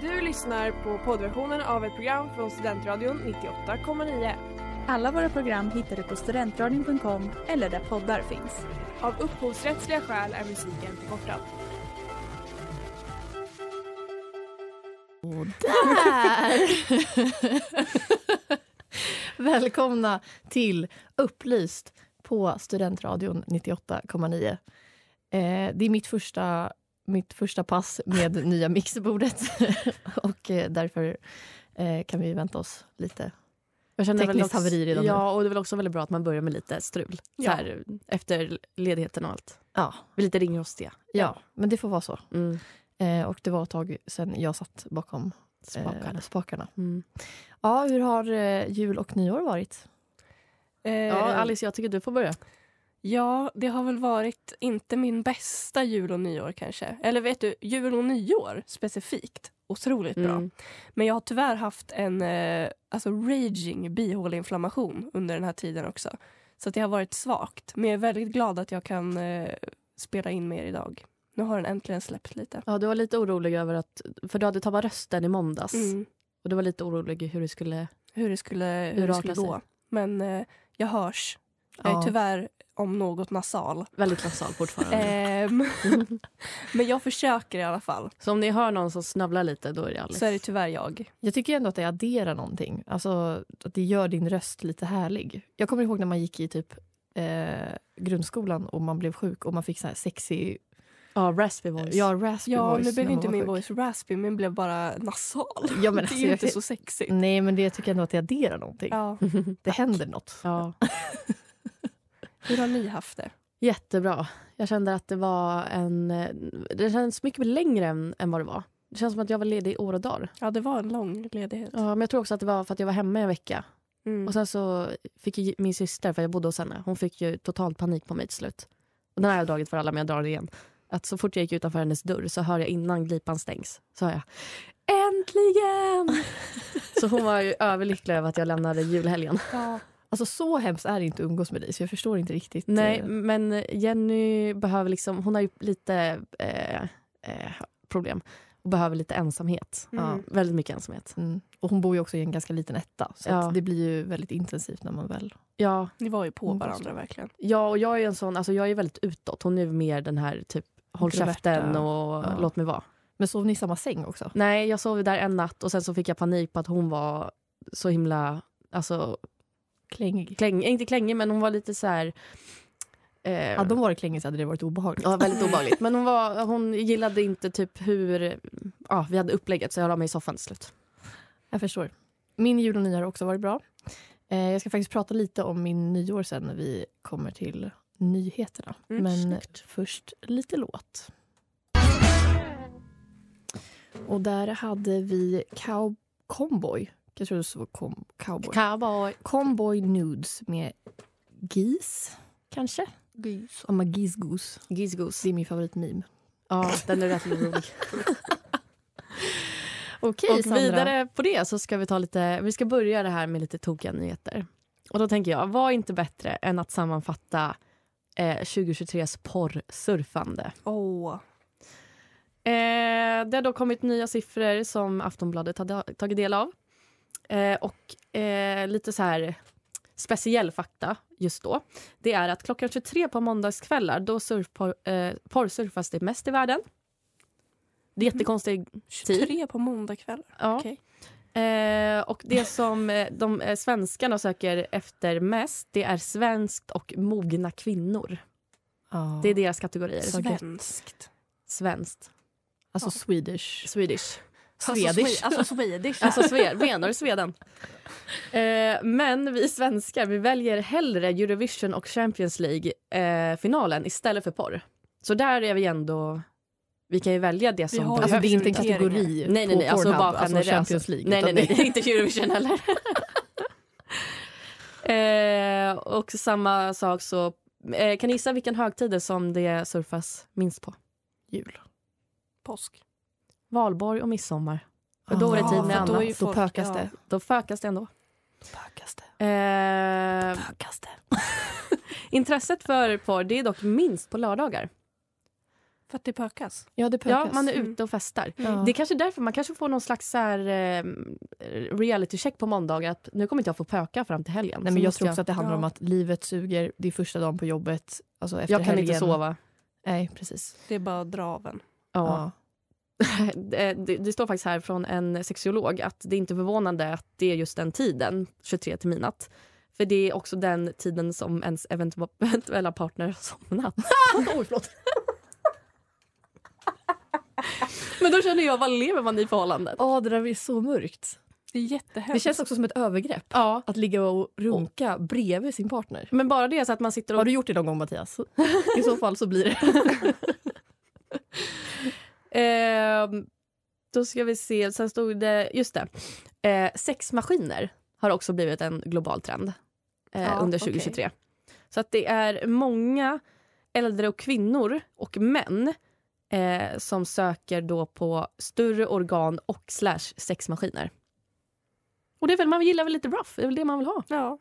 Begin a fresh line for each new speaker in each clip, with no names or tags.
Du lyssnar på poddversionen av ett program från Studentradion 98,9.
Alla våra program hittar du på studentradion.com eller där poddar finns.
Av upphovsrättsliga skäl är musiken förkortad.
Och där! Välkomna till Upplyst på Studentradion 98,9. Eh, det är mitt första, mitt första pass med nya mixerbordet och eh, därför eh, kan vi vänta oss lite.
Jag känner väl
Tekniskt
också-
haveri redan nu.
Ja, och det är väl också väldigt bra att man börjar med lite strul. Så
Ja.
här, efter ledigheten och allt.
Ja,
Vi är lite ringrostiga.
ja men det får vara så.
Mm.
Eh, och det var ett tag sedan jag satt bakom eh,
Spakarna.
spakarna.
Mm.
Ja, hur har eh, jul och nyår varit?
Ja, Alice, jag tycker du får börja.
Eh, Ja, det har väl varit inte min bästa jul och nyår kanske. Eller vet du, jul och nyår specifikt. Otroligt bra.
Mm.
Men jag har tyvärr haft en eh, alltså raging bihåleinflammation under den här tiden också. Så att det har varit svagt. Men jag är väldigt glad att jag kan eh, spela in mer idag. Nu har den äntligen släppt lite.
Ja, du var lite orolig över att... För du hade tappat rösten i måndags.
Mm.
Och du var lite orolig hur det skulle...
Hur det skulle, hur
Hur
det skulle
artar sig.
gå. Men eh, jag hörs. Jag är
Ja.
tyvärr om något nasal.
Väldigt nasal fortfarande.
Ehm, men jag försöker i alla fall.
Så om ni hör någon som snavlar lite, då är det Alice.
Så är det tyvärr jag.
Jag tycker ändå att det adderar någonting. Alltså att det gör din röst lite härlig. Jag kommer ihåg när man gick i typ eh, grundskolan och man blev sjuk och man fick så här sexy,
Ja, raspy voice.
ja raspy
Ja,
voice.
nu blev
när
ju inte
man var
min
sjuk.
voice raspy, men blev bara nasal.
Ja, men
det är
alltså,
ju
jag
inte
vet-
så sexigt.
Nej men det jag tycker ändå att det adderar någonting.
Ja.
Det händer något.
Ja.
Hur har ni haft det?
Jättebra. Jag kände att det var en... eh, Det kändes mycket längre än, än vad det var. Det känns som att jag var ledig i år och dagar.
Ja, det var en lång ledighet.
Ja, men jag tror också att det var för att jag var hemma i en vecka.
Mm.
Och sen så fick ju min syster, för jag bodde hos henne, hon fick ju total panik på mig till slut. Och den här har jag dragit för alla, men jag drar det igen. Att så fort jag gick utanför hennes dörr så hör jag innan glipan stängs, så hör jag Äntligen! så hon var ju överlycklig över att jag lämnade julhelgen.
Ja.
Alltså så hemskt är det inte att umgås med dig så jag förstår inte riktigt.
Nej,
eh,
men Jenny behöver liksom, hon har ju lite eh, eh, problem och behöver lite ensamhet.
Mm.
Ja, väldigt mycket ensamhet.
Mm. Och hon bor ju också i en ganska liten etta så
Ja.
att det blir ju väldigt intensivt när man väl...
Ja,
Ni var ju på
Mm,
varandra verkligen.
Ja, och jag är ju en sån, alltså jag är väldigt utåt. Hon är ju mer den här typ håll
Introverta.
käften och
Ja.
låt mig vara.
Men sov ni i samma säng också?
Nej, jag sov där en natt och sen så fick jag panik på att hon var så himla, alltså
Klängig.
kläng, inte klängig men hon var lite så här eh,
Hade de varit klängig så hade det varit obehagligt.
Ja, väldigt obehagligt. Men hon, var, hon gillade inte typ hur ja, vi hade upplägget så jag la mig i soffan till slut.
Jag förstår. Min jul och nyår har också varit bra. Eh, jag ska faktiskt prata lite om min nyår sen när vi kommer till nyheterna.
Mm,
Men först lite låt. Och där hade vi cow- Cowboy. Jag tror det stod com- Cowboy.
Cowboy.
Comboy Nudes med Geese, kanske? Geese. Ja, men Geese Goose.
Giz goose.
Det är min favoritmeme.
Ja, den är rätt rolig.
Okej,
Och vidare på det så ska vi ta lite, vi ska börja det här med lite tokiga nyheter. Och då tänker jag, vad är inte bättre än att sammanfatta eh, 2023s porrsurfande?
Åh.
Eh, det har då kommit nya siffror som Aftonbladet har tagit del av. Eh, och eh, lite så här speciell fakta just då. Det är att klockan 23 på måndagskvällar då surfpor, eh, porrsurfas det mest i världen. Det är jättekonstig tid.
Tre på måndagkvällar.
Ja.
Mhm. Okej.
Eh, och det som eh, de eh, svenskarna söker efter mest det är svenskt och mogna kvinnor.
Ja.
Det är deras kategorier.
Svenskt.
Svenskt.
Alltså Swedish.
Swedish.
Swedish.
Alltså swedish.
Alltså sve- menar du Sveden? Eh, men vi svenskar vi väljer hellre Eurovision och Champions League-finalen istället för porr. Så där är vi ändå... Vi kan ju välja det som
har ju-
Alltså, det är inte en
Prioriteringar.
kategori
Nej, nej,
på
nej. Alltså
Pornhub,
bara generellt.
alltså Champions League.
Nej, nej,
utan
nej.
det-
inte Eurovision heller. eh, och samma sak så... Eh, kan ni gissa vilken högtider som det surfas minst på?
Jul.
Påsk.
Valborg och midsommar. För då var det tid med
för Då,
annat.
är ju
Då
folk, pökas
ja.
det.
Då fökas det ändå.
Pökas det.
Eh,
Pökas det.
intresset för porr det är dock minst på lördagar.
För att det pökas.
Ja, det
Ja,
pökas.
man är ute och festar.
Ja.
Det är kanske är därför man kanske får någon slags så här, eh, reality check på måndagar. Att nu kommer inte jag få pöka fram till helgen.
Nej,
Så
men jag
måste
tror också att det handlar
Ja.
om att livet suger. Det är första dagen på jobbet. Alltså efter
jag kan
helgen.
inte sova.
Nej, precis.
Det är bara att dra av en.
Ja.
Ja.
det, det står faktiskt här från en sexolog att det är inte förvånande att det är just den tiden, 23 till midnatt. För det är också den tiden som ens eventu- eventuella partner har somnat. Oj, förlåt. Men då känner jag, vad lever man i förhållandet?
Åh, det där är så mörkt.
Det är
Det
jättehemskt.
känns också som ett övergrepp.
Ja,
Att ligga och runka bredvid sin partner.
men bara det så att man sitter och...
Har du gjort det någon gång, Mattias? I så fall så blir det...
Ehm, då ska vi se, sen stod det, just det. Eh, sexmaskiner har också blivit en global trend eh,
Ja,
under
okej.
2023. Så att det är många äldre och kvinnor och män eh, som söker då på större organ och slash sexmaskiner. Och det är väl, man gillar väl lite rough, det är väl det man vill ha.
Ja.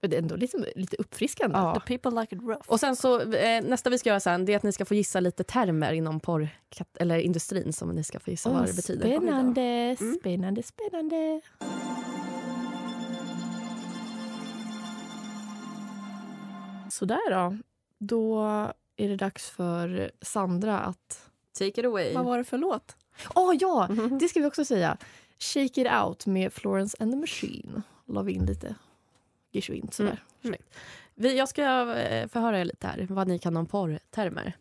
Men det är ändå lite, lite uppfriskande.
Ja.
The people like it rough.
Och sen så, eh, nästa vi ska göra sen, det är att ni ska få gissa lite termer inom porr, eller industrin som ni ska få gissa
Åh,
vad det betyder.
Spännande,
Mm.
spännande, spännande. Sådär då. Då är det dags för Sandra att...
Take it away.
Vad var det för låt?
Åh ja, det ska vi också säga. Shake it out med Florence and the Machine. La vi in lite geschwint sådär.
Vi, jag ska eh, förhöra er lite här, vad ni kan om porrtermer.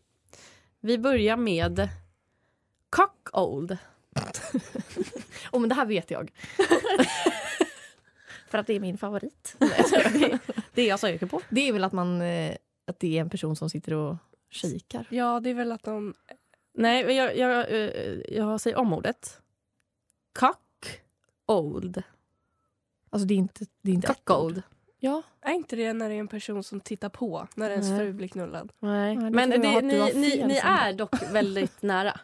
Vi börjar med cockold.
Åh, men det här vet jag. För att det är min favorit.
Det är jag söker på.
Det är väl att man... eh, Att det är en person som sitter och kikar.
Ja, det är väl att de...
Nej, men jag, jag, eh, jag säger om ordet. Cockold.
Alltså det är inte... Det är inte ett ord.
Cockold.
Ja.
Är inte det när det är en person som tittar på när ens
Nej.
fru blir knullad?
Nej.
Ja, det
Men
tror jag
det,
att du har
ni, ni,
fel,
ni
Sandra.
är dock väldigt nära.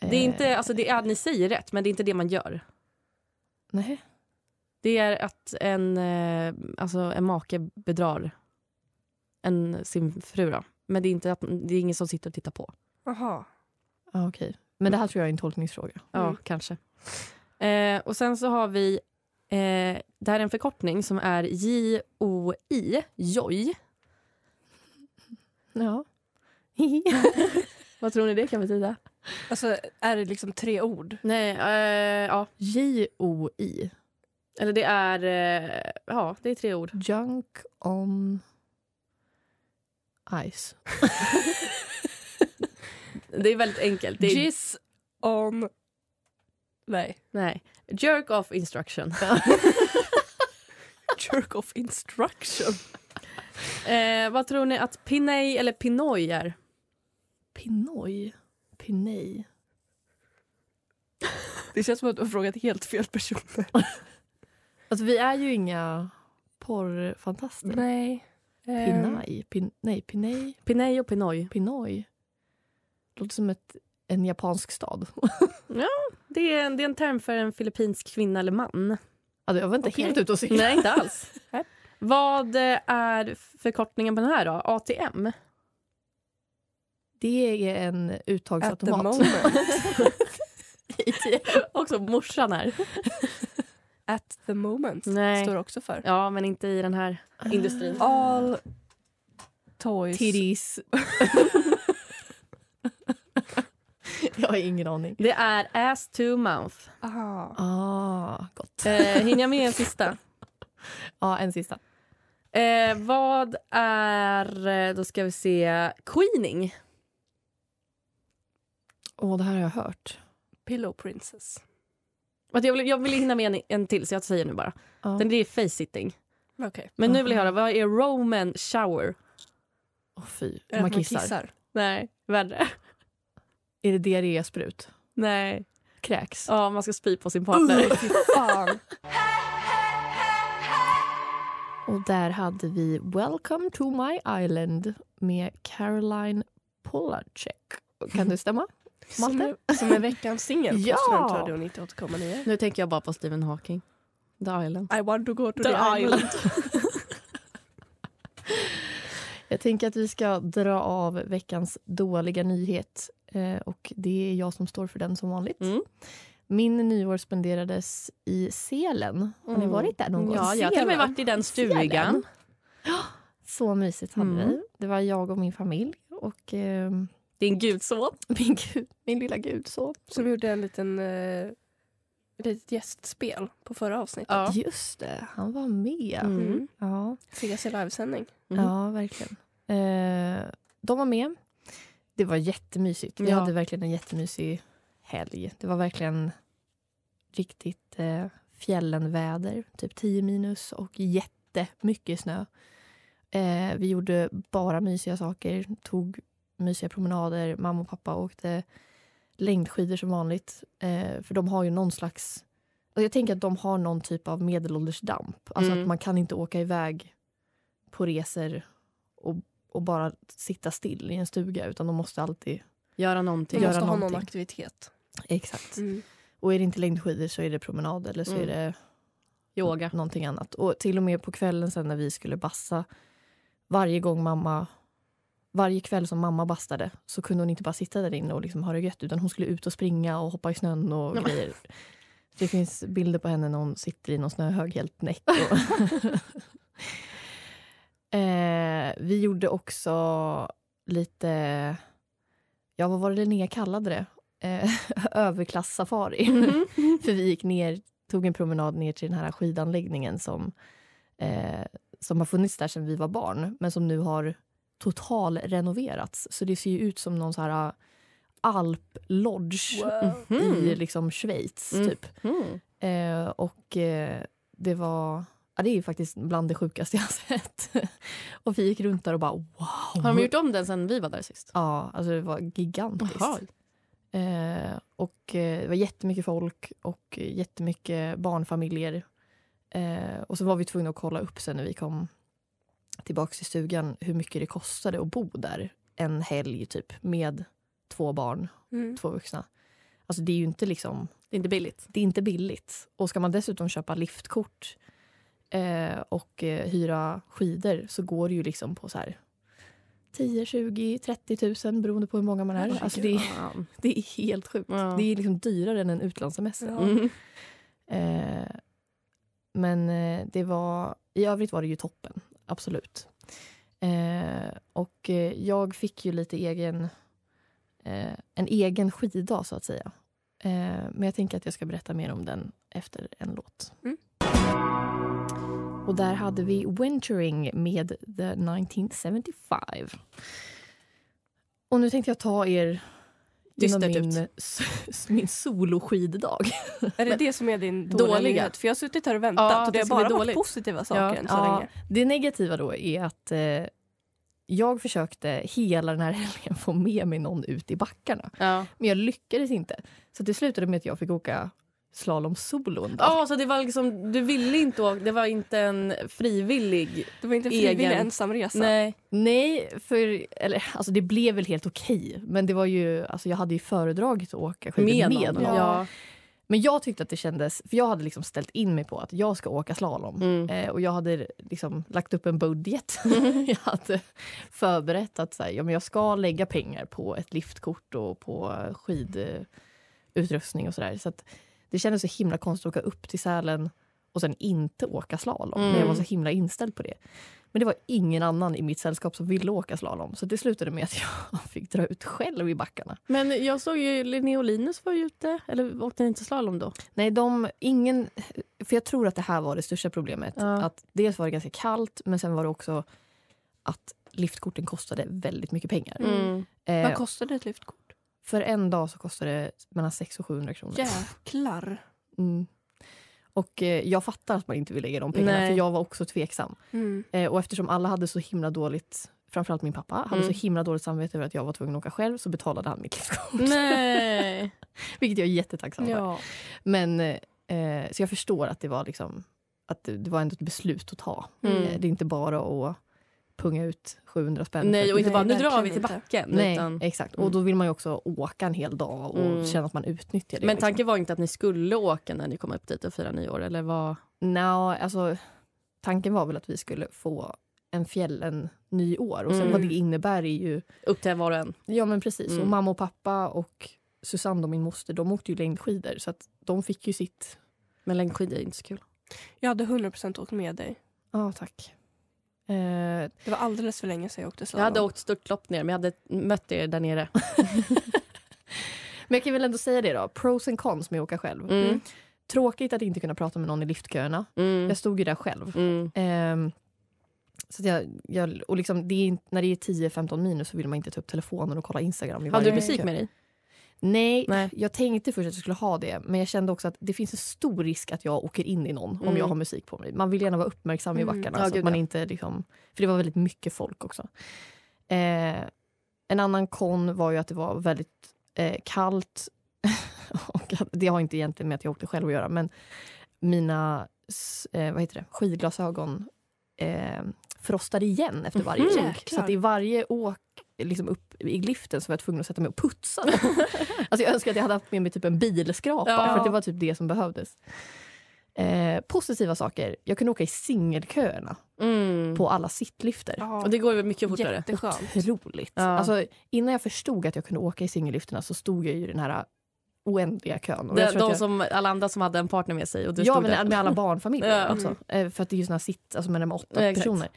Det är
Eh.
inte, alltså det är, ni säger rätt, men det är inte det man gör.
Nej.
Det är att en, eh, alltså en make bedrar en, sin fru. Då. Men det är, inte att, det är ingen som sitter och tittar på.
Jaha.
Ja, Ah, okej. Men det här tror jag är en tolkningsfråga.
Ja, kanske. Mm. Eh, och sen så har vi... Eh, det här är en förkortning som är J-O-I, JOJ.
Ja.
Vad tror ni det kan betyda?
Alltså, är det liksom tre ord?
Nej, eh, ja.
J-O-I.
Eller det är... Eh, ja, det är tre ord.
Junk on ice.
Det är väldigt enkelt. Det är,
Jizz on... Nej.
nej. Jerk off instruction.
Jerk of instruction.
eh, vad tror ni att pinay eller pinoy är?
Pinoy. Pinay.
Det känns som att du har frågat helt fel personer.
Alltså vi är ju inga porrfantaster.
Nej. Ehm,
Pinay. Pin, nej, Pinay.
Pinay och pinoy.
Pinoy. Låter som ett, en japansk stad.
Det är, en, det är en term för en filippinsk kvinna eller man.
Alltså, jag var inte
Okej.
helt ute och cyklade.
Nej, inte alls.
Nej.
Vad eh, är förkortningen på den här då? ATM?
Det är en
At the
uttagsautomat.
moment.
Också morsan här.
At the moment
Nej.
står det också för.
Ja, men inte i den här
Ah.
industrin.
All toys.
Titties. jag har ingen aning.
Det är ass to mouth.
Aha.
Ah, gott.
Eh, hinner jag med en sista?
Ja, en sista.
Eh, vad är, eh, då ska vi se, queening?
Åh, det här har jag hört.
Pillow princess.
Att Jag vill, jag vill hinna med en, en till, så jag säger nu bara.
Ja.
Den, det är face-sitting.
Okej.
Men nu vill jag höra, vad är roman shower?
Åh, fy.
Är det att
Man kissar.
Nej, värre.
Är det diarrésprut?
Nej.
Kräks?
Ja, man ska spy på sin partner.
Fy fan.
Och där hade vi Welcome to my island med Caroline Polacek. Kan du stämma? Malte?
Som är veckans singel på
Ja.
Studentradion 98,9.
Nu tänker jag bara på Stephen Hawking. The Island.
I want to go to the,
The
island.
Jag tänker att vi ska dra av veckans dåliga nyhet. Eh, och Det är jag som står för den som vanligt.
Mm.
Min nyår spenderades i Selen. Har ni
Mm.
varit där någon gång?
Ja, jag har till och med
Selen.
varit i den
Selen.
stugan.
Ja, Så mysigt hade
Mm.
vi. Det var jag och min familj och eh,
Din gudson.
min, gud, min lilla gudson.
Så vi gjorde en liten, eh, ett litet gästspel på förra avsnittet.
Ja.
Just det, han var med.
Mm.
Ja,
Ses i livesändning.
Mm.
ja, verkligen. Eh, de var med. Det var jättemysigt. Vi
Ja.
hade verkligen en jättemysig helg. Det var verkligen riktigt eh, fjällenväder, typ 10 minus och jättemycket snö. Eh, vi gjorde bara mysiga saker, tog mysiga promenader. Mamma och pappa åkte längdskidor som vanligt. Eh, för de har ju någon slags... Och jag tänker att de har någon typ av medelåldersdamp. Alltså
Mm.
att man kan inte åka iväg på resor och, och bara sitta still i en stuga utan de måste alltid...
Göra någonting.
Man
Göra
måste ha någon
någonting.
aktivitet.
Exakt. Och är det inte längdskidor så är det promenad eller så
Mm.
är det
Yoga.
någonting annat. Och till och med på kvällen sen när vi skulle bassa, varje gång mamma varje kväll som mamma bastade så kunde hon inte bara sitta där inne och liksom ha det gött utan hon skulle ut och springa och hoppa i snön och grejer. Det finns bilder på henne när hon sitter i någon snöhög helt näck. Och eh, vi gjorde också lite, ja vad var det Linnea kallade det? Eh, överklass-safari.
Mhm.
För vi gick ner, tog en promenad ner till den här skidanläggningen som, eh, som har funnits där sedan vi var barn men som nu har totalrenoverats. Så det ser ju ut som någon så här eh, alplodge i liksom Schweiz.
Mm.
Typ. Eh, och eh, det var... Ja, det är ju faktiskt bland det sjukaste jag har sett. och vi gick runt där och bara wow.
Har de gjort om den sen vi var där sist?
Ja, alltså det var gigantiskt.
Jaha.
Eh, och eh, det var jättemycket folk och jättemycket barnfamiljer. Eh, och så var vi tvungna att kolla upp sen när vi kom tillbaka till stugan hur mycket det kostade att bo där en helg typ med två barn,
Mm.
två vuxna. Alltså det är ju inte liksom
Det är inte billigt.
det är inte billigt. Och ska man dessutom köpa liftkort eh, och eh, hyra skidor så går det ju liksom på så här 10, 20, 30 000 beroende på hur många man är. Alltså det, är
Fan.
det är helt sjukt.
Ja.
Det är liksom dyrare än en utlandssemester.
Mm.
Eh, men eh, det var, i övrigt var det ju toppen, absolut. Eh, och eh, jag fick ju lite egen, eh, en egen skiddag så att säga. Eh, men jag tänker att jag ska berätta mer om den efter en låt.
Mm.
Och där hade vi Wintering med The 1975. Och nu tänkte jag ta er genom
Dystert ut.
min, min soloskiddag.
Är det det som är din dåliga,
Dåliga.
nyhet? För jag har suttit här och väntat
Ja,
och det
det
har
ska
bara
bli
varit
dåligt.
positiva saker
Ja.
än så
Ja,
länge.
Det negativa då är att eh, jag försökte hela den här helgen få med mig någon ut i backarna.
Ja.
Men jag lyckades inte. Så det slutade med att jag fick åka slalom solo en dag.
Ja, så det var liksom, du ville inte åka, det var inte en frivillig...
Det var inte en frivillig
Egen.
ensamresa.
Nej.
Nej, för eller, alltså det blev väl helt okej. Men det var ju, alltså jag hade ju föredragit att åka skidor med, någon.
Ja. Ja.
Men jag tyckte att det kändes, för jag hade liksom ställt in mig på att jag ska åka slalom.
Mm.
Eh, och jag hade liksom lagt upp en budget. jag hade förberett att så här, ja, men jag ska lägga pengar på ett liftkort och på skidutrustning och sådär. Så att det kändes så himla konstigt att åka upp till Sälen och sen inte åka slalom.
Mm.
Men jag var så himla inställd på det. Men det var ingen annan i mitt sällskap som ville åka slalom. Så det slutade med att jag fick dra ut själv i backarna.
Men jag såg ju Linnea och Linus var ju ute, eller åkte ni inte slalom då?
Nej, de, ingen, för jag tror att det här var det största problemet.
Ja.
Att dels var det ganska kallt, men sen var det också att liftkorten kostade väldigt mycket pengar.
Mm.
Vad
Eh,
kostade ett liftkort?
för en dag så kostade det mellan 600 och 700 kronor.
Jäklar.
Mm. Och eh, jag fattar att man inte vill lägga de pengarna,
Nej.
för jag var också tveksam.
Mm.
Eh, och eftersom alla hade så himla dåligt, framförallt min pappa, hade
Mm.
så himla dåligt samvete över att jag var tvungen att åka själv, så betalade han mitt liftkort.
Nej.
Vilket jag är jättetacksam för.
Ja.
Men, eh, så jag förstår att det var liksom att det, det var ändå ett beslut att ta.
Mm.
Eh, Det är inte bara att punga ut 700 spänn.
Nej, och inte
Nej,
bara nu drar vi
verkligen
till
inte.
backen.
Nej,
Utan,
exakt.
Mm.
Och då vill man ju också åka en hel dag och
Mm.
känna att man utnyttjar det. liksom.
men tanken var inte att ni skulle åka när ni kom upp dit och fira nyår? Eller vad?
liksom. Nå, alltså, tanken var väl att vi skulle få en fjällen nyår. Och sen
Mm.
vad det innebär är ju...
Upp till var och en.
Ja men precis.
Mm.
Och mamma och pappa och Susanne, då, min moster, de åkte ju längdskidor. Så att de fick ju sitt...
Men längdskidor är inte så kul.
Jag hade 100% åkt med dig.
Ja, tack. Eh,
Det var alldeles för länge sedan jag åkte
Jag
slalom.
hade åkt störtlopp ner, men jag hade mött er där nere.
men jag kan väl ändå säga det då. Pros and cons med att åka själv.
Mm.
Tråkigt att inte kunna prata med någon i liftköerna.
Mm.
Jag stod ju där själv.
Mm.
Ehm, så att jag, jag, och liksom, det är, inte- när det är 10-15 minus så vill man inte ta upp telefonen och kolla Instagram. i
Hade
varje
du musik
kö.
med dig?
Nej,
Nej.
jag tänkte först att jag skulle ha det. Men jag kände också att det finns en stor risk att jag åker in i någon om
Mm.
jag har musik på mig. Man vill gärna vara uppmärksam i
Mm.
backarna.
Ja,
så att
gud,
man
ja.
inte liksom, för det var väldigt mycket folk också. Eh, en annan kon var ju att det var väldigt eh, kallt. och att, det har inte egentligen med att jag åkte själv att göra. Men mina s- eh, vad heter det? skidglasögon eh, frostade igen efter varje
Mhm.
åk. Så att i varje åk liksom upp i liften så var jag tvungen att sätta mig och putsa. dem. alltså jag önskar att jag hade haft med mig typ en bilskrapa
Ja.
för att det var typ det som behövdes. Eh, positiva saker. Jag kunde åka i singelköerna
Mm.
på alla sittlifter.
Ja,
Och det går ju mycket fortare.
jätteskönt.
Otroligt.
Ja.
Alltså, innan jag förstod att jag kunde åka i singellifterna så stod jag ju i den här oändliga kön. Och
De,
jag tror att
de
jag,
som, alla andra som hade en partner med sig och du
ja,
stod
men
där.
med alla barnfamiljer
Ja.
också. Eh, För att det är ju såna här sitt, alltså med de är åtta
Ja, exakt.
personer.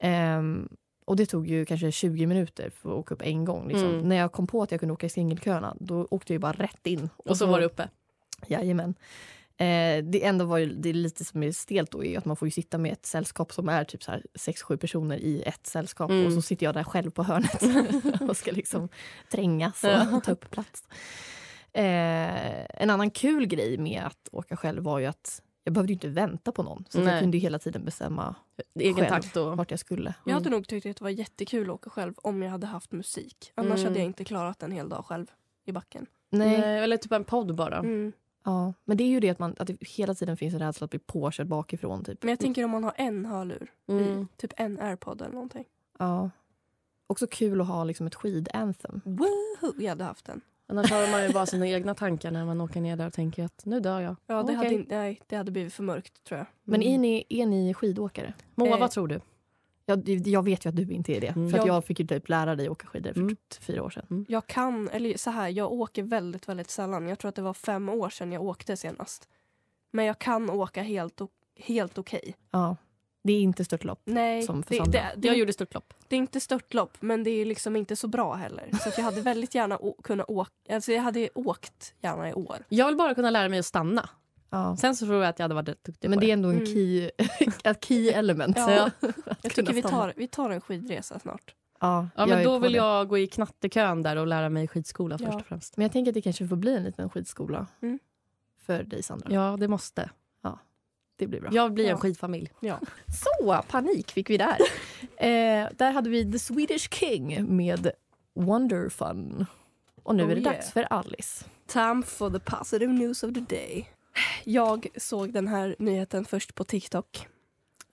Ehm, och det tog ju kanske 20 minuter för att åka upp en gång. Liksom.
Mm.
När jag kom på att jag kunde åka i singelköerna, då åkte jag ju bara rätt in.
Och så var du uppe.
Jajamän. Eh, det enda var ju, det är lite som är stelt då är ju att man får ju sitta med ett sällskap som är typ så här 6-7 personer i ett sällskap
Mm.
och så sitter jag där själv på hörnet och ska liksom trängas
Ja.
och ta upp plats. Eh, en annan kul grej med att åka själv var ju att jag behövde ju inte vänta på någon. Så att jag
Nej.
kunde ju hela tiden bestämma
Egen
Själv.
takt och...
vart jag skulle.
Jag hade nog tyckt att det var jättekul att åka själv om jag hade haft musik. Annars
Mm.
hade jag inte klarat en hel dag själv i backen.
Nej.
Nej. Eller typ en podd bara.
Mm.
Ja. Men det är ju det att, man, att det hela tiden finns en rädsla att bli påkörd bakifrån. Typ.
Men jag tänker om man har en hörlur, i,
Mm.
typ en airpod eller någonting.
Ja. Också kul att ha liksom ett skidanthem.
Woohoo, jag hade haft den.
Annars har man ju bara sina egna tankar när man åker ner där och tänker att nu dör jag.
Ja, det,
Okej.
hade, in- nej, det hade blivit för mörkt tror jag.
Men
Mm.
är ni, är ni skidåkare?
Moa,
Eh,
vad tror du?
Jag, jag vet ju att du inte är det.
Mm.
För att
Jag-
jag fick ju typ lära dig åka skidor för
Mm.
t- fyra år sedan.
Jag kan, eller så här, jag åker väldigt, väldigt sällan. Jag tror att det var fem år sedan jag åkte senast. Men jag kan åka helt, o- helt okej.
Ja. Det är inte störtlopp.
Nej,
Som för
det,
Sandra.
det, det,
Jag gjorde störtlopp.
det är inte störtlopp men det är liksom inte så bra heller. Så att jag hade väldigt gärna å- kunnat åka, alltså jag hade åkt gärna i år.
Jag vill bara kunna lära mig att stanna.
Ja.
Sen så tror jag att jag hade varit rätt duktig
Men
på
det är ändå en
Mm.
key, ett key element.
Ja. Jag
kunna
tycker vi
stanna.
tar, vi tar en skidresa snart.
Ja,
Ja,
jag
men
är
då
på
vill
det.
jag gå i knattekön där och lära mig skidskola
Ja.
först och främst.
Men jag tänker att det kanske får bli en liten skidskola
Mm.
för dig, Sandra.
Ja, det måste.
Det blir bra.
Jag blir en
Ja.
skidfamilj.
Så, panik fick vi där. eh, där hade vi The Swedish King med Wonderfun. Och nu
Oh,
är det
yeah.
dags för Alice.
Time for the positive news of the day. Jag såg den här nyheten först på TikTok.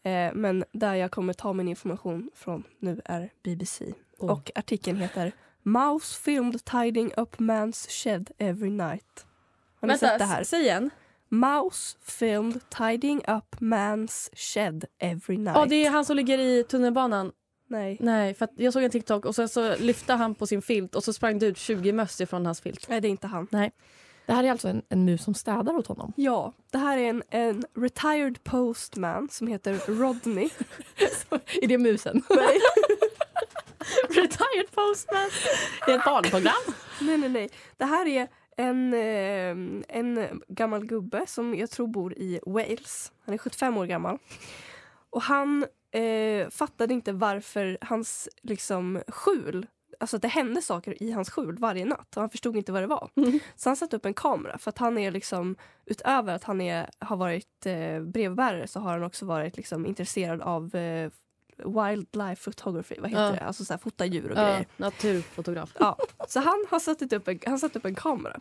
Eh, men där jag kommer ta min information från nu är BBC.
Oh.
Och artikeln heter Mouse filmed tidying up man's shed every night. Har ni sett det här?
säg igen.
Mouse filmed tidying up man's shed every night.
Ja, det är han som ligger i tunnelbanan.
Nej.
Nej, för att jag såg en TikTok och sen så lyfte han på sin filt och så sprang det ut 20 möss ifrån hans filt.
Nej, det är inte han.
Det här är alltså en, en mus som städar åt honom.
Ja, det här är en, en retired postman som heter Rodney.
Är det musen?
Retired postman! Det är ett barnprogram.
Nej, nej, nej. Det här är en, eh, en gammal gubbe som jag tror bor i Wales. Han är 75 år gammal. Och han eh, fattade inte varför hans liksom, skjul Alltså att det hände saker i hans skjul varje natt och han förstod inte vad det var.
Mm.
Så han satte upp en kamera för att han är liksom utöver att han är, har varit eh, brevbärare så har han också varit liksom intresserad av eh, wildlife photography, vad heter
Ja.
det? Alltså så här, fota djur och grejer.
Ja, naturfotograf.
Ja, så han har satt upp en, han satt upp en kamera.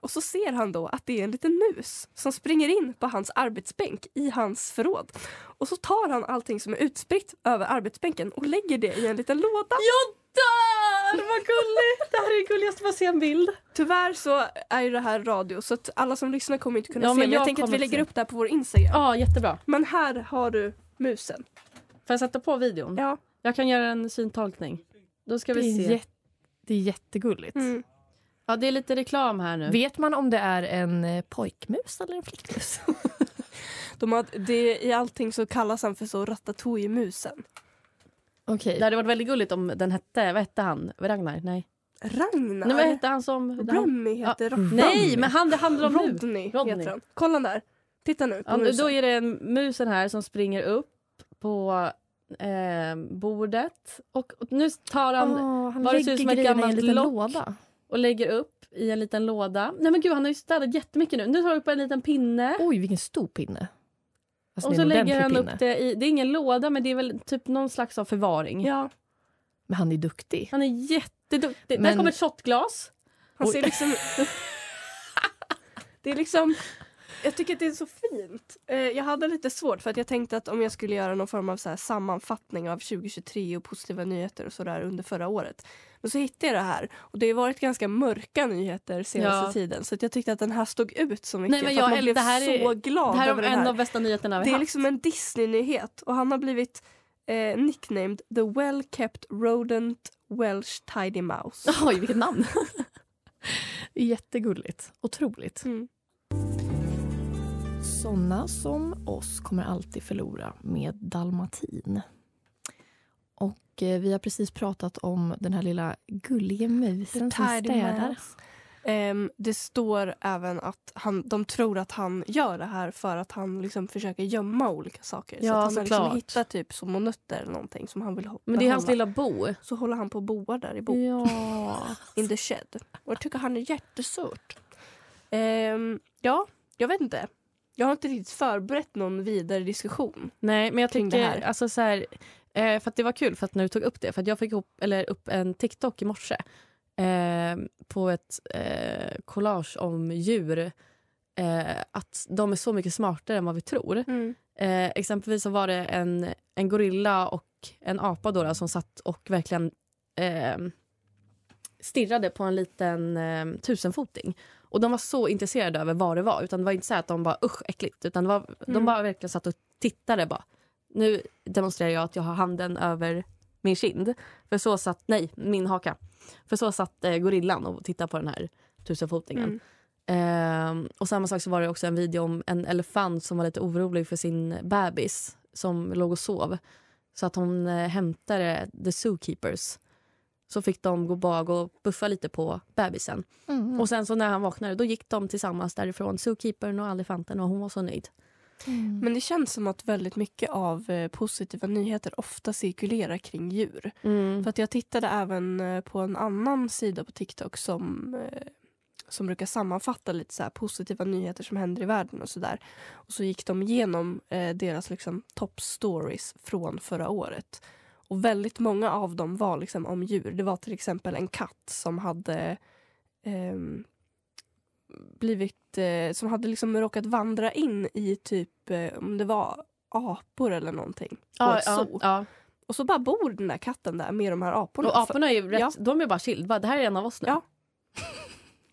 Och så ser han då att det är en liten mus som springer in på hans arbetsbänk i hans förråd. Och så tar han allting som är utspritt över arbetsbänken och lägger det i en liten låda.
Jag dör! Vad gulligt! Det här är gulligast att se en bild.
Tyvärr så är ju det här radio så att alla som lyssnar kommer inte kunna
Ja,
se
men
men jag,
jag
tänker att vi
kommer
lägger
se.
upp det här på vår Instagram.
Ja, jättebra.
Men här har du musen.
Får jag sätta på videon?
Ja.
Jag kan göra en syntolkning. Då ska
Det
vi
är,
se.
jätte, det är jättegulligt.
Mm.
Ja, det är lite reklam här nu.
Vet man om det är en eh, pojkmus eller en flickmus?
De har, det, I allting så kallas han för så Ratatouille-musen.
Okej.
Det hade varit väldigt gulligt om den hette, vad hette han? Ragnar? Nej.
Ragnar?
Nej, vad hette han som... Han,
Rummy heter ja.
nej, men han det handlar om nu.
Rodney,
Rodney.
heter han. Kolla där. Titta nu på
Ja, nu-
musen.
då är det en musen här som springer upp på eh, bordet. Och, och nu tar han
Åh, han
Var det ser ut som ett
grejerna i
gammalt
en liten
lock.
låda.
och lägger upp i en liten låda. Nej men gud, han har ju städat jättemycket nu. Nu tar han upp en liten pinne.
Oj, vilken stor pinne. Alltså,
och
det
så
är en
lägger
ordentlig
han
pinne.
upp det i, det är ingen låda men det är väl typ någon slags av förvaring.
Ja,
Men han är duktig.
Han är jätteduktig. Där
Men-
kommer ett shotglas.
han ser liksom... det är liksom... Jag tycker att det är så fint. Eh, jag hade lite svårt för att jag tänkte att om jag skulle göra någon form av så här sammanfattning av 2023 och positiva nyheter och sådär under förra året. Men så hittade jag det här och det har varit ganska mörka nyheter senaste
Ja.
tiden så att jag tyckte att den här stod ut så mycket
men
för
jag
att man
äl-
blev
det här är-
så glad
det här
över
är
den
en
här.
av bästa nyheterna vi
Det är
haft.
liksom en Disney-nyhet och han har blivit eh, nicknamed The Well Kept Rodent Welsh Tidy Mouse.
Oj, vilket namn! Jättegulligt. Otroligt.
Mm.
Såna som oss kommer alltid förlora med dalmatin. Och eh, vi har precis pratat om den här lilla gulliga musen som städar.
Ehm, det står även att han, de tror att han gör det här för att han liksom försöker gömma olika saker.
Ja,
så att han har liksom
såklart.
hittar typ små nötter eller någonting som han vill ha.
Men det är hans
behålla.
lilla bo.
Så håller han på och boar där i bo,
Ja.
in the shed. Och jag tycker han är jättesurt. Ehm, ja, jag vet inte. Jag har inte riktigt förberett någon vidare diskussion.
Nej, men jag
kring
tycker...
det här.
Alltså, så här, eh, för att det var kul för att när du tog upp det. För att jag fick ihop, eller, upp en TikTok i morse eh, på ett eh, collage om djur. Eh, att de är så mycket smartare än vad vi tror. Eh, exempelvis så var det en, en gorilla och en apa då, då, som satt och verkligen eh, stirrade på en liten eh, tusenfoting. Och de var så intresserade över vad det var. Utan det var inte så här att de bara usch äckligt. Utan det var, de bara verkligen satt och tittade bara. Nu demonstrerar jag att jag har handen över min kind. För så satt, nej, min haka. För så satt eh, gorillan och tittade på den här tusenfotingen. Ehm, och samma sak så var det också en video om en elefant som var lite orolig för sin bebis som låg och sov. Så att hon eh, hämtade the zookeepers. Så fick de gå bak och buffa lite på bebisen.
Mm.
Och sen så när han vaknade då gick de tillsammans därifrån, zookeepern och elefanten och hon var så nöjd.
Mm.
Men det känns som att väldigt mycket av eh, positiva nyheter ofta cirkulerar kring djur.
Mm.
För att jag tittade även eh, på en annan sida på TikTok som, eh, som brukar sammanfatta lite så här positiva nyheter som händer i världen och sådär. Och så gick de igenom eh, deras liksom top stories från förra året. Och väldigt många av dem var liksom om djur. Det var till exempel en katt som hade ehm, blivit, eh, som hade liksom råkat vandra in i typ, eh, om det var apor eller någonting. På ett
ja,
zoo.
ja.
Och så bara bor den där katten där med de här aporna.
Och aporna är ju rätt,
Ja.
de är bara chill, bara, det här är en av oss nu.
Ja.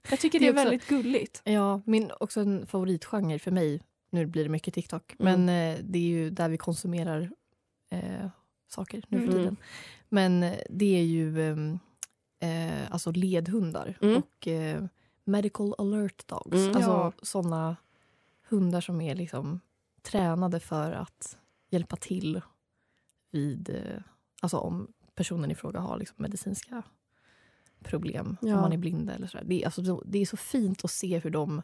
Jag tycker
Det
det
är
är,
också-
väldigt gulligt.
Alltså.
Ja, min också en favoritgenre för mig, nu blir det mycket TikTok,
Mm.
men eh, det är ju där vi konsumerar eh, saker nu för
Mm.
tiden. Men eh, det är ju ehm, eh, alltså ledhundar
Mm.
och eh, medical alert dogs.
Mm.
Alltså
Ja.
såna hundar som är liksom tränade för att hjälpa till vid, eh, alltså om personen i fråga har liksom medicinska problem,
Ja.
om man är blinda eller sådär. Det är, alltså, så- det är så fint att se hur de,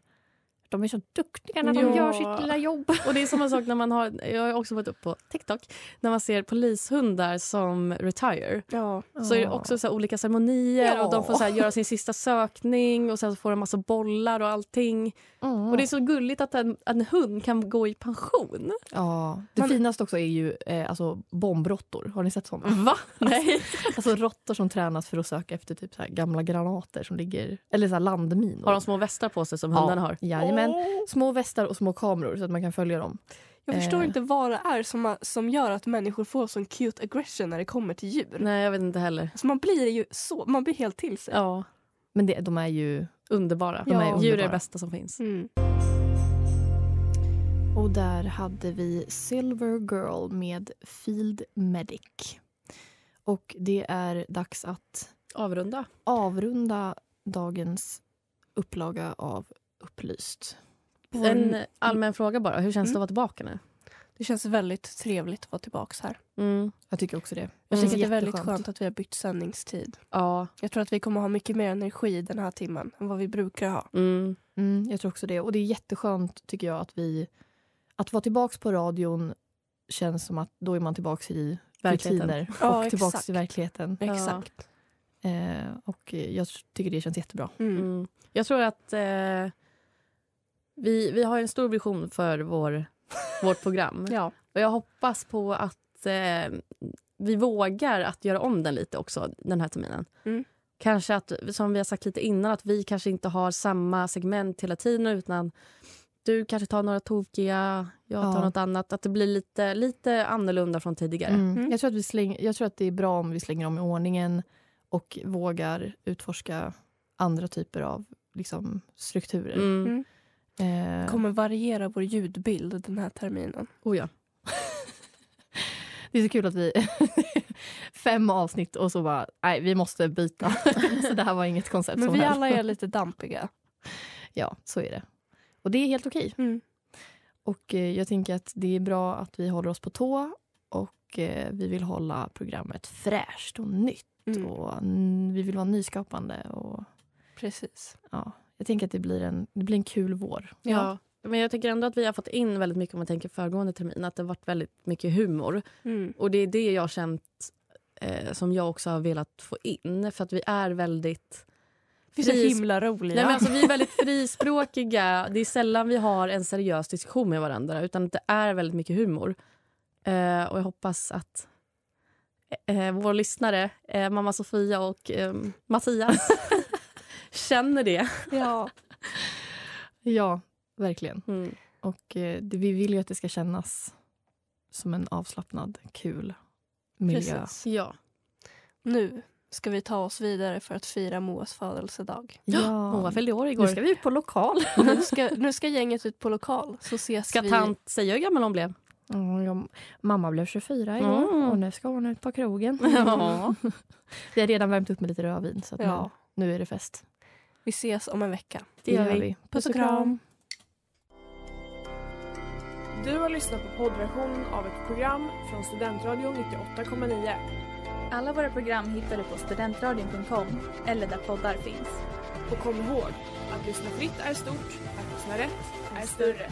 de är så duktiga när de
Ja.
gör sitt lilla jobb.
Och det är samma sak när man har, jag har också varit upp på TikTok, när man ser polishundar som retire.
Ja.
Så är det också så här olika ceremonier och de får så här göra sin sista sökning och sen så får de massa bollar och allting.
Mm.
Och det är så gulligt att en, en hund kan gå i pension.
ja. det
Man-
finaste också är ju eh, alltså bombrottor. Har ni sett såna?
Va? Nej.
Alltså råttor som tränas för att söka efter typ så här gamla granater som ligger, eller så här landminor.
Har de små västar på sig som hundarna har?
Jajamän. Små västar och små kameror så att man kan följa dem.
Jag förstår
Eh.
inte vad det är som, som gör att människor får sån cute aggression när det kommer till djur.
Nej, jag vet inte heller.
Alltså man blir ju så, man blir helt till sig.
Ja,
Men det, de är ju...
underbara.
De är
Djur är
underbara.
det bästa som finns.
Mm.
Och där hade vi Silver Girl med Field Medic. Och det är dags att
Avrunda.
avrunda dagens upplaga av Upplyst.
Vår-
En allmän fråga bara. Hur känns det att vara tillbaka nu?
Det känns väldigt trevligt att vara tillbaka här.
Jag tycker också det.
Jag
Mm.
tycker det är väldigt
Jätteskönt.
skönt att vi har bytt sändningstid.
Ja.
Jag tror att vi kommer ha mycket mer energi den här timmen än vad vi brukar ha.
Mm.
Mm, jag tror också det. Och det är jätteskönt tycker jag att vi... Att vara tillbaka på radion känns som att då är man tillbaka i
Verkligheten.
rutiner
Ja,
och tillbaka
exakt.
till verkligheten.
Exakt.
Eh, och jag tycker det känns jättebra.
Mm.
Mm. Jag tror att eh, vi, vi har en stor vision för vår, vårt program.
Ja.
Och jag hoppas på att eh, vi vågar att göra om den lite också den här terminen.
Mm.
Kanske att, som vi har sagt lite innan, att vi kanske inte har samma segment hela tiden utan du kanske tar några tokiga, jag tar
Ja.
något annat. Att det blir lite, lite annorlunda från tidigare.
Mm.
Mm.
Jag, tror att vi släng, jag tror att det är bra om vi slänger om i ordningen och vågar utforska andra typer av liksom, strukturer.
Mm.
Vi
Eh,
kommer variera vår ljudbild den här terminen.
Oh ja.
Det är så kul att vi... Fem avsnitt och så bara, nej vi måste byta. så det här var inget koncept
Men
som
vi
höll.
alla är lite dampiga.
Ja, så är det. Och det är helt okej.
Mm.
Och eh, jag tänker att det är bra att vi håller oss på tå och eh, vi vill hålla programmet fräscht och nytt
Mm.
och mm, vi vill vara nyskapande och
Precis.
ja, jag tänker att det blir en, det blir en kul vår.
Ja. Men jag tycker ändå att vi har fått in väldigt mycket om man tänker föregående termin. Att det har varit väldigt mycket humor.
Mm.
Och det är det jag har känt eh, som jag också har velat få in. För att vi är väldigt...
Vi är så
fris-
himla roliga.
Nej, men alltså, vi är väldigt frispråkiga. Det är sällan vi har en seriös diskussion med varandra. Utan det är väldigt mycket humor. Eh, och jag hoppas att eh, vår lyssnare, eh, mamma Sofia och eh, Mattias känner det.
ja.
Ja, verkligen.
Mm.
Och eh, det, vi vill ju att det ska kännas som en avslappnad, kul miljö.
Precis.
Ja.
Nu ska vi ta oss vidare för att fira Moas födelsedag.
Ja.
Hon var fyllde år igår.
nu ska vi ut på lokal.
Nu ska, nu ska gänget ut på lokal så ses
Ska
vi.
tant säga hur gammal hon blev?
Mm, jag, mamma blev 24 igår
Mm.
och nu ska hon ut på krogen.
Ja.
Vi har redan värmt upp med lite rödvin så att
Ja.
nu, nu är det fest.
Vi ses om en vecka.
Det gör vi.
Puss och kram.
Du har lyssnat på poddversionen av ett program från Studentradion 98,9.
Alla våra program hittar du på studentradion.com eller där poddar finns.
Och kom ihåg, att lyssna fritt är stort, att lyssna rätt är större.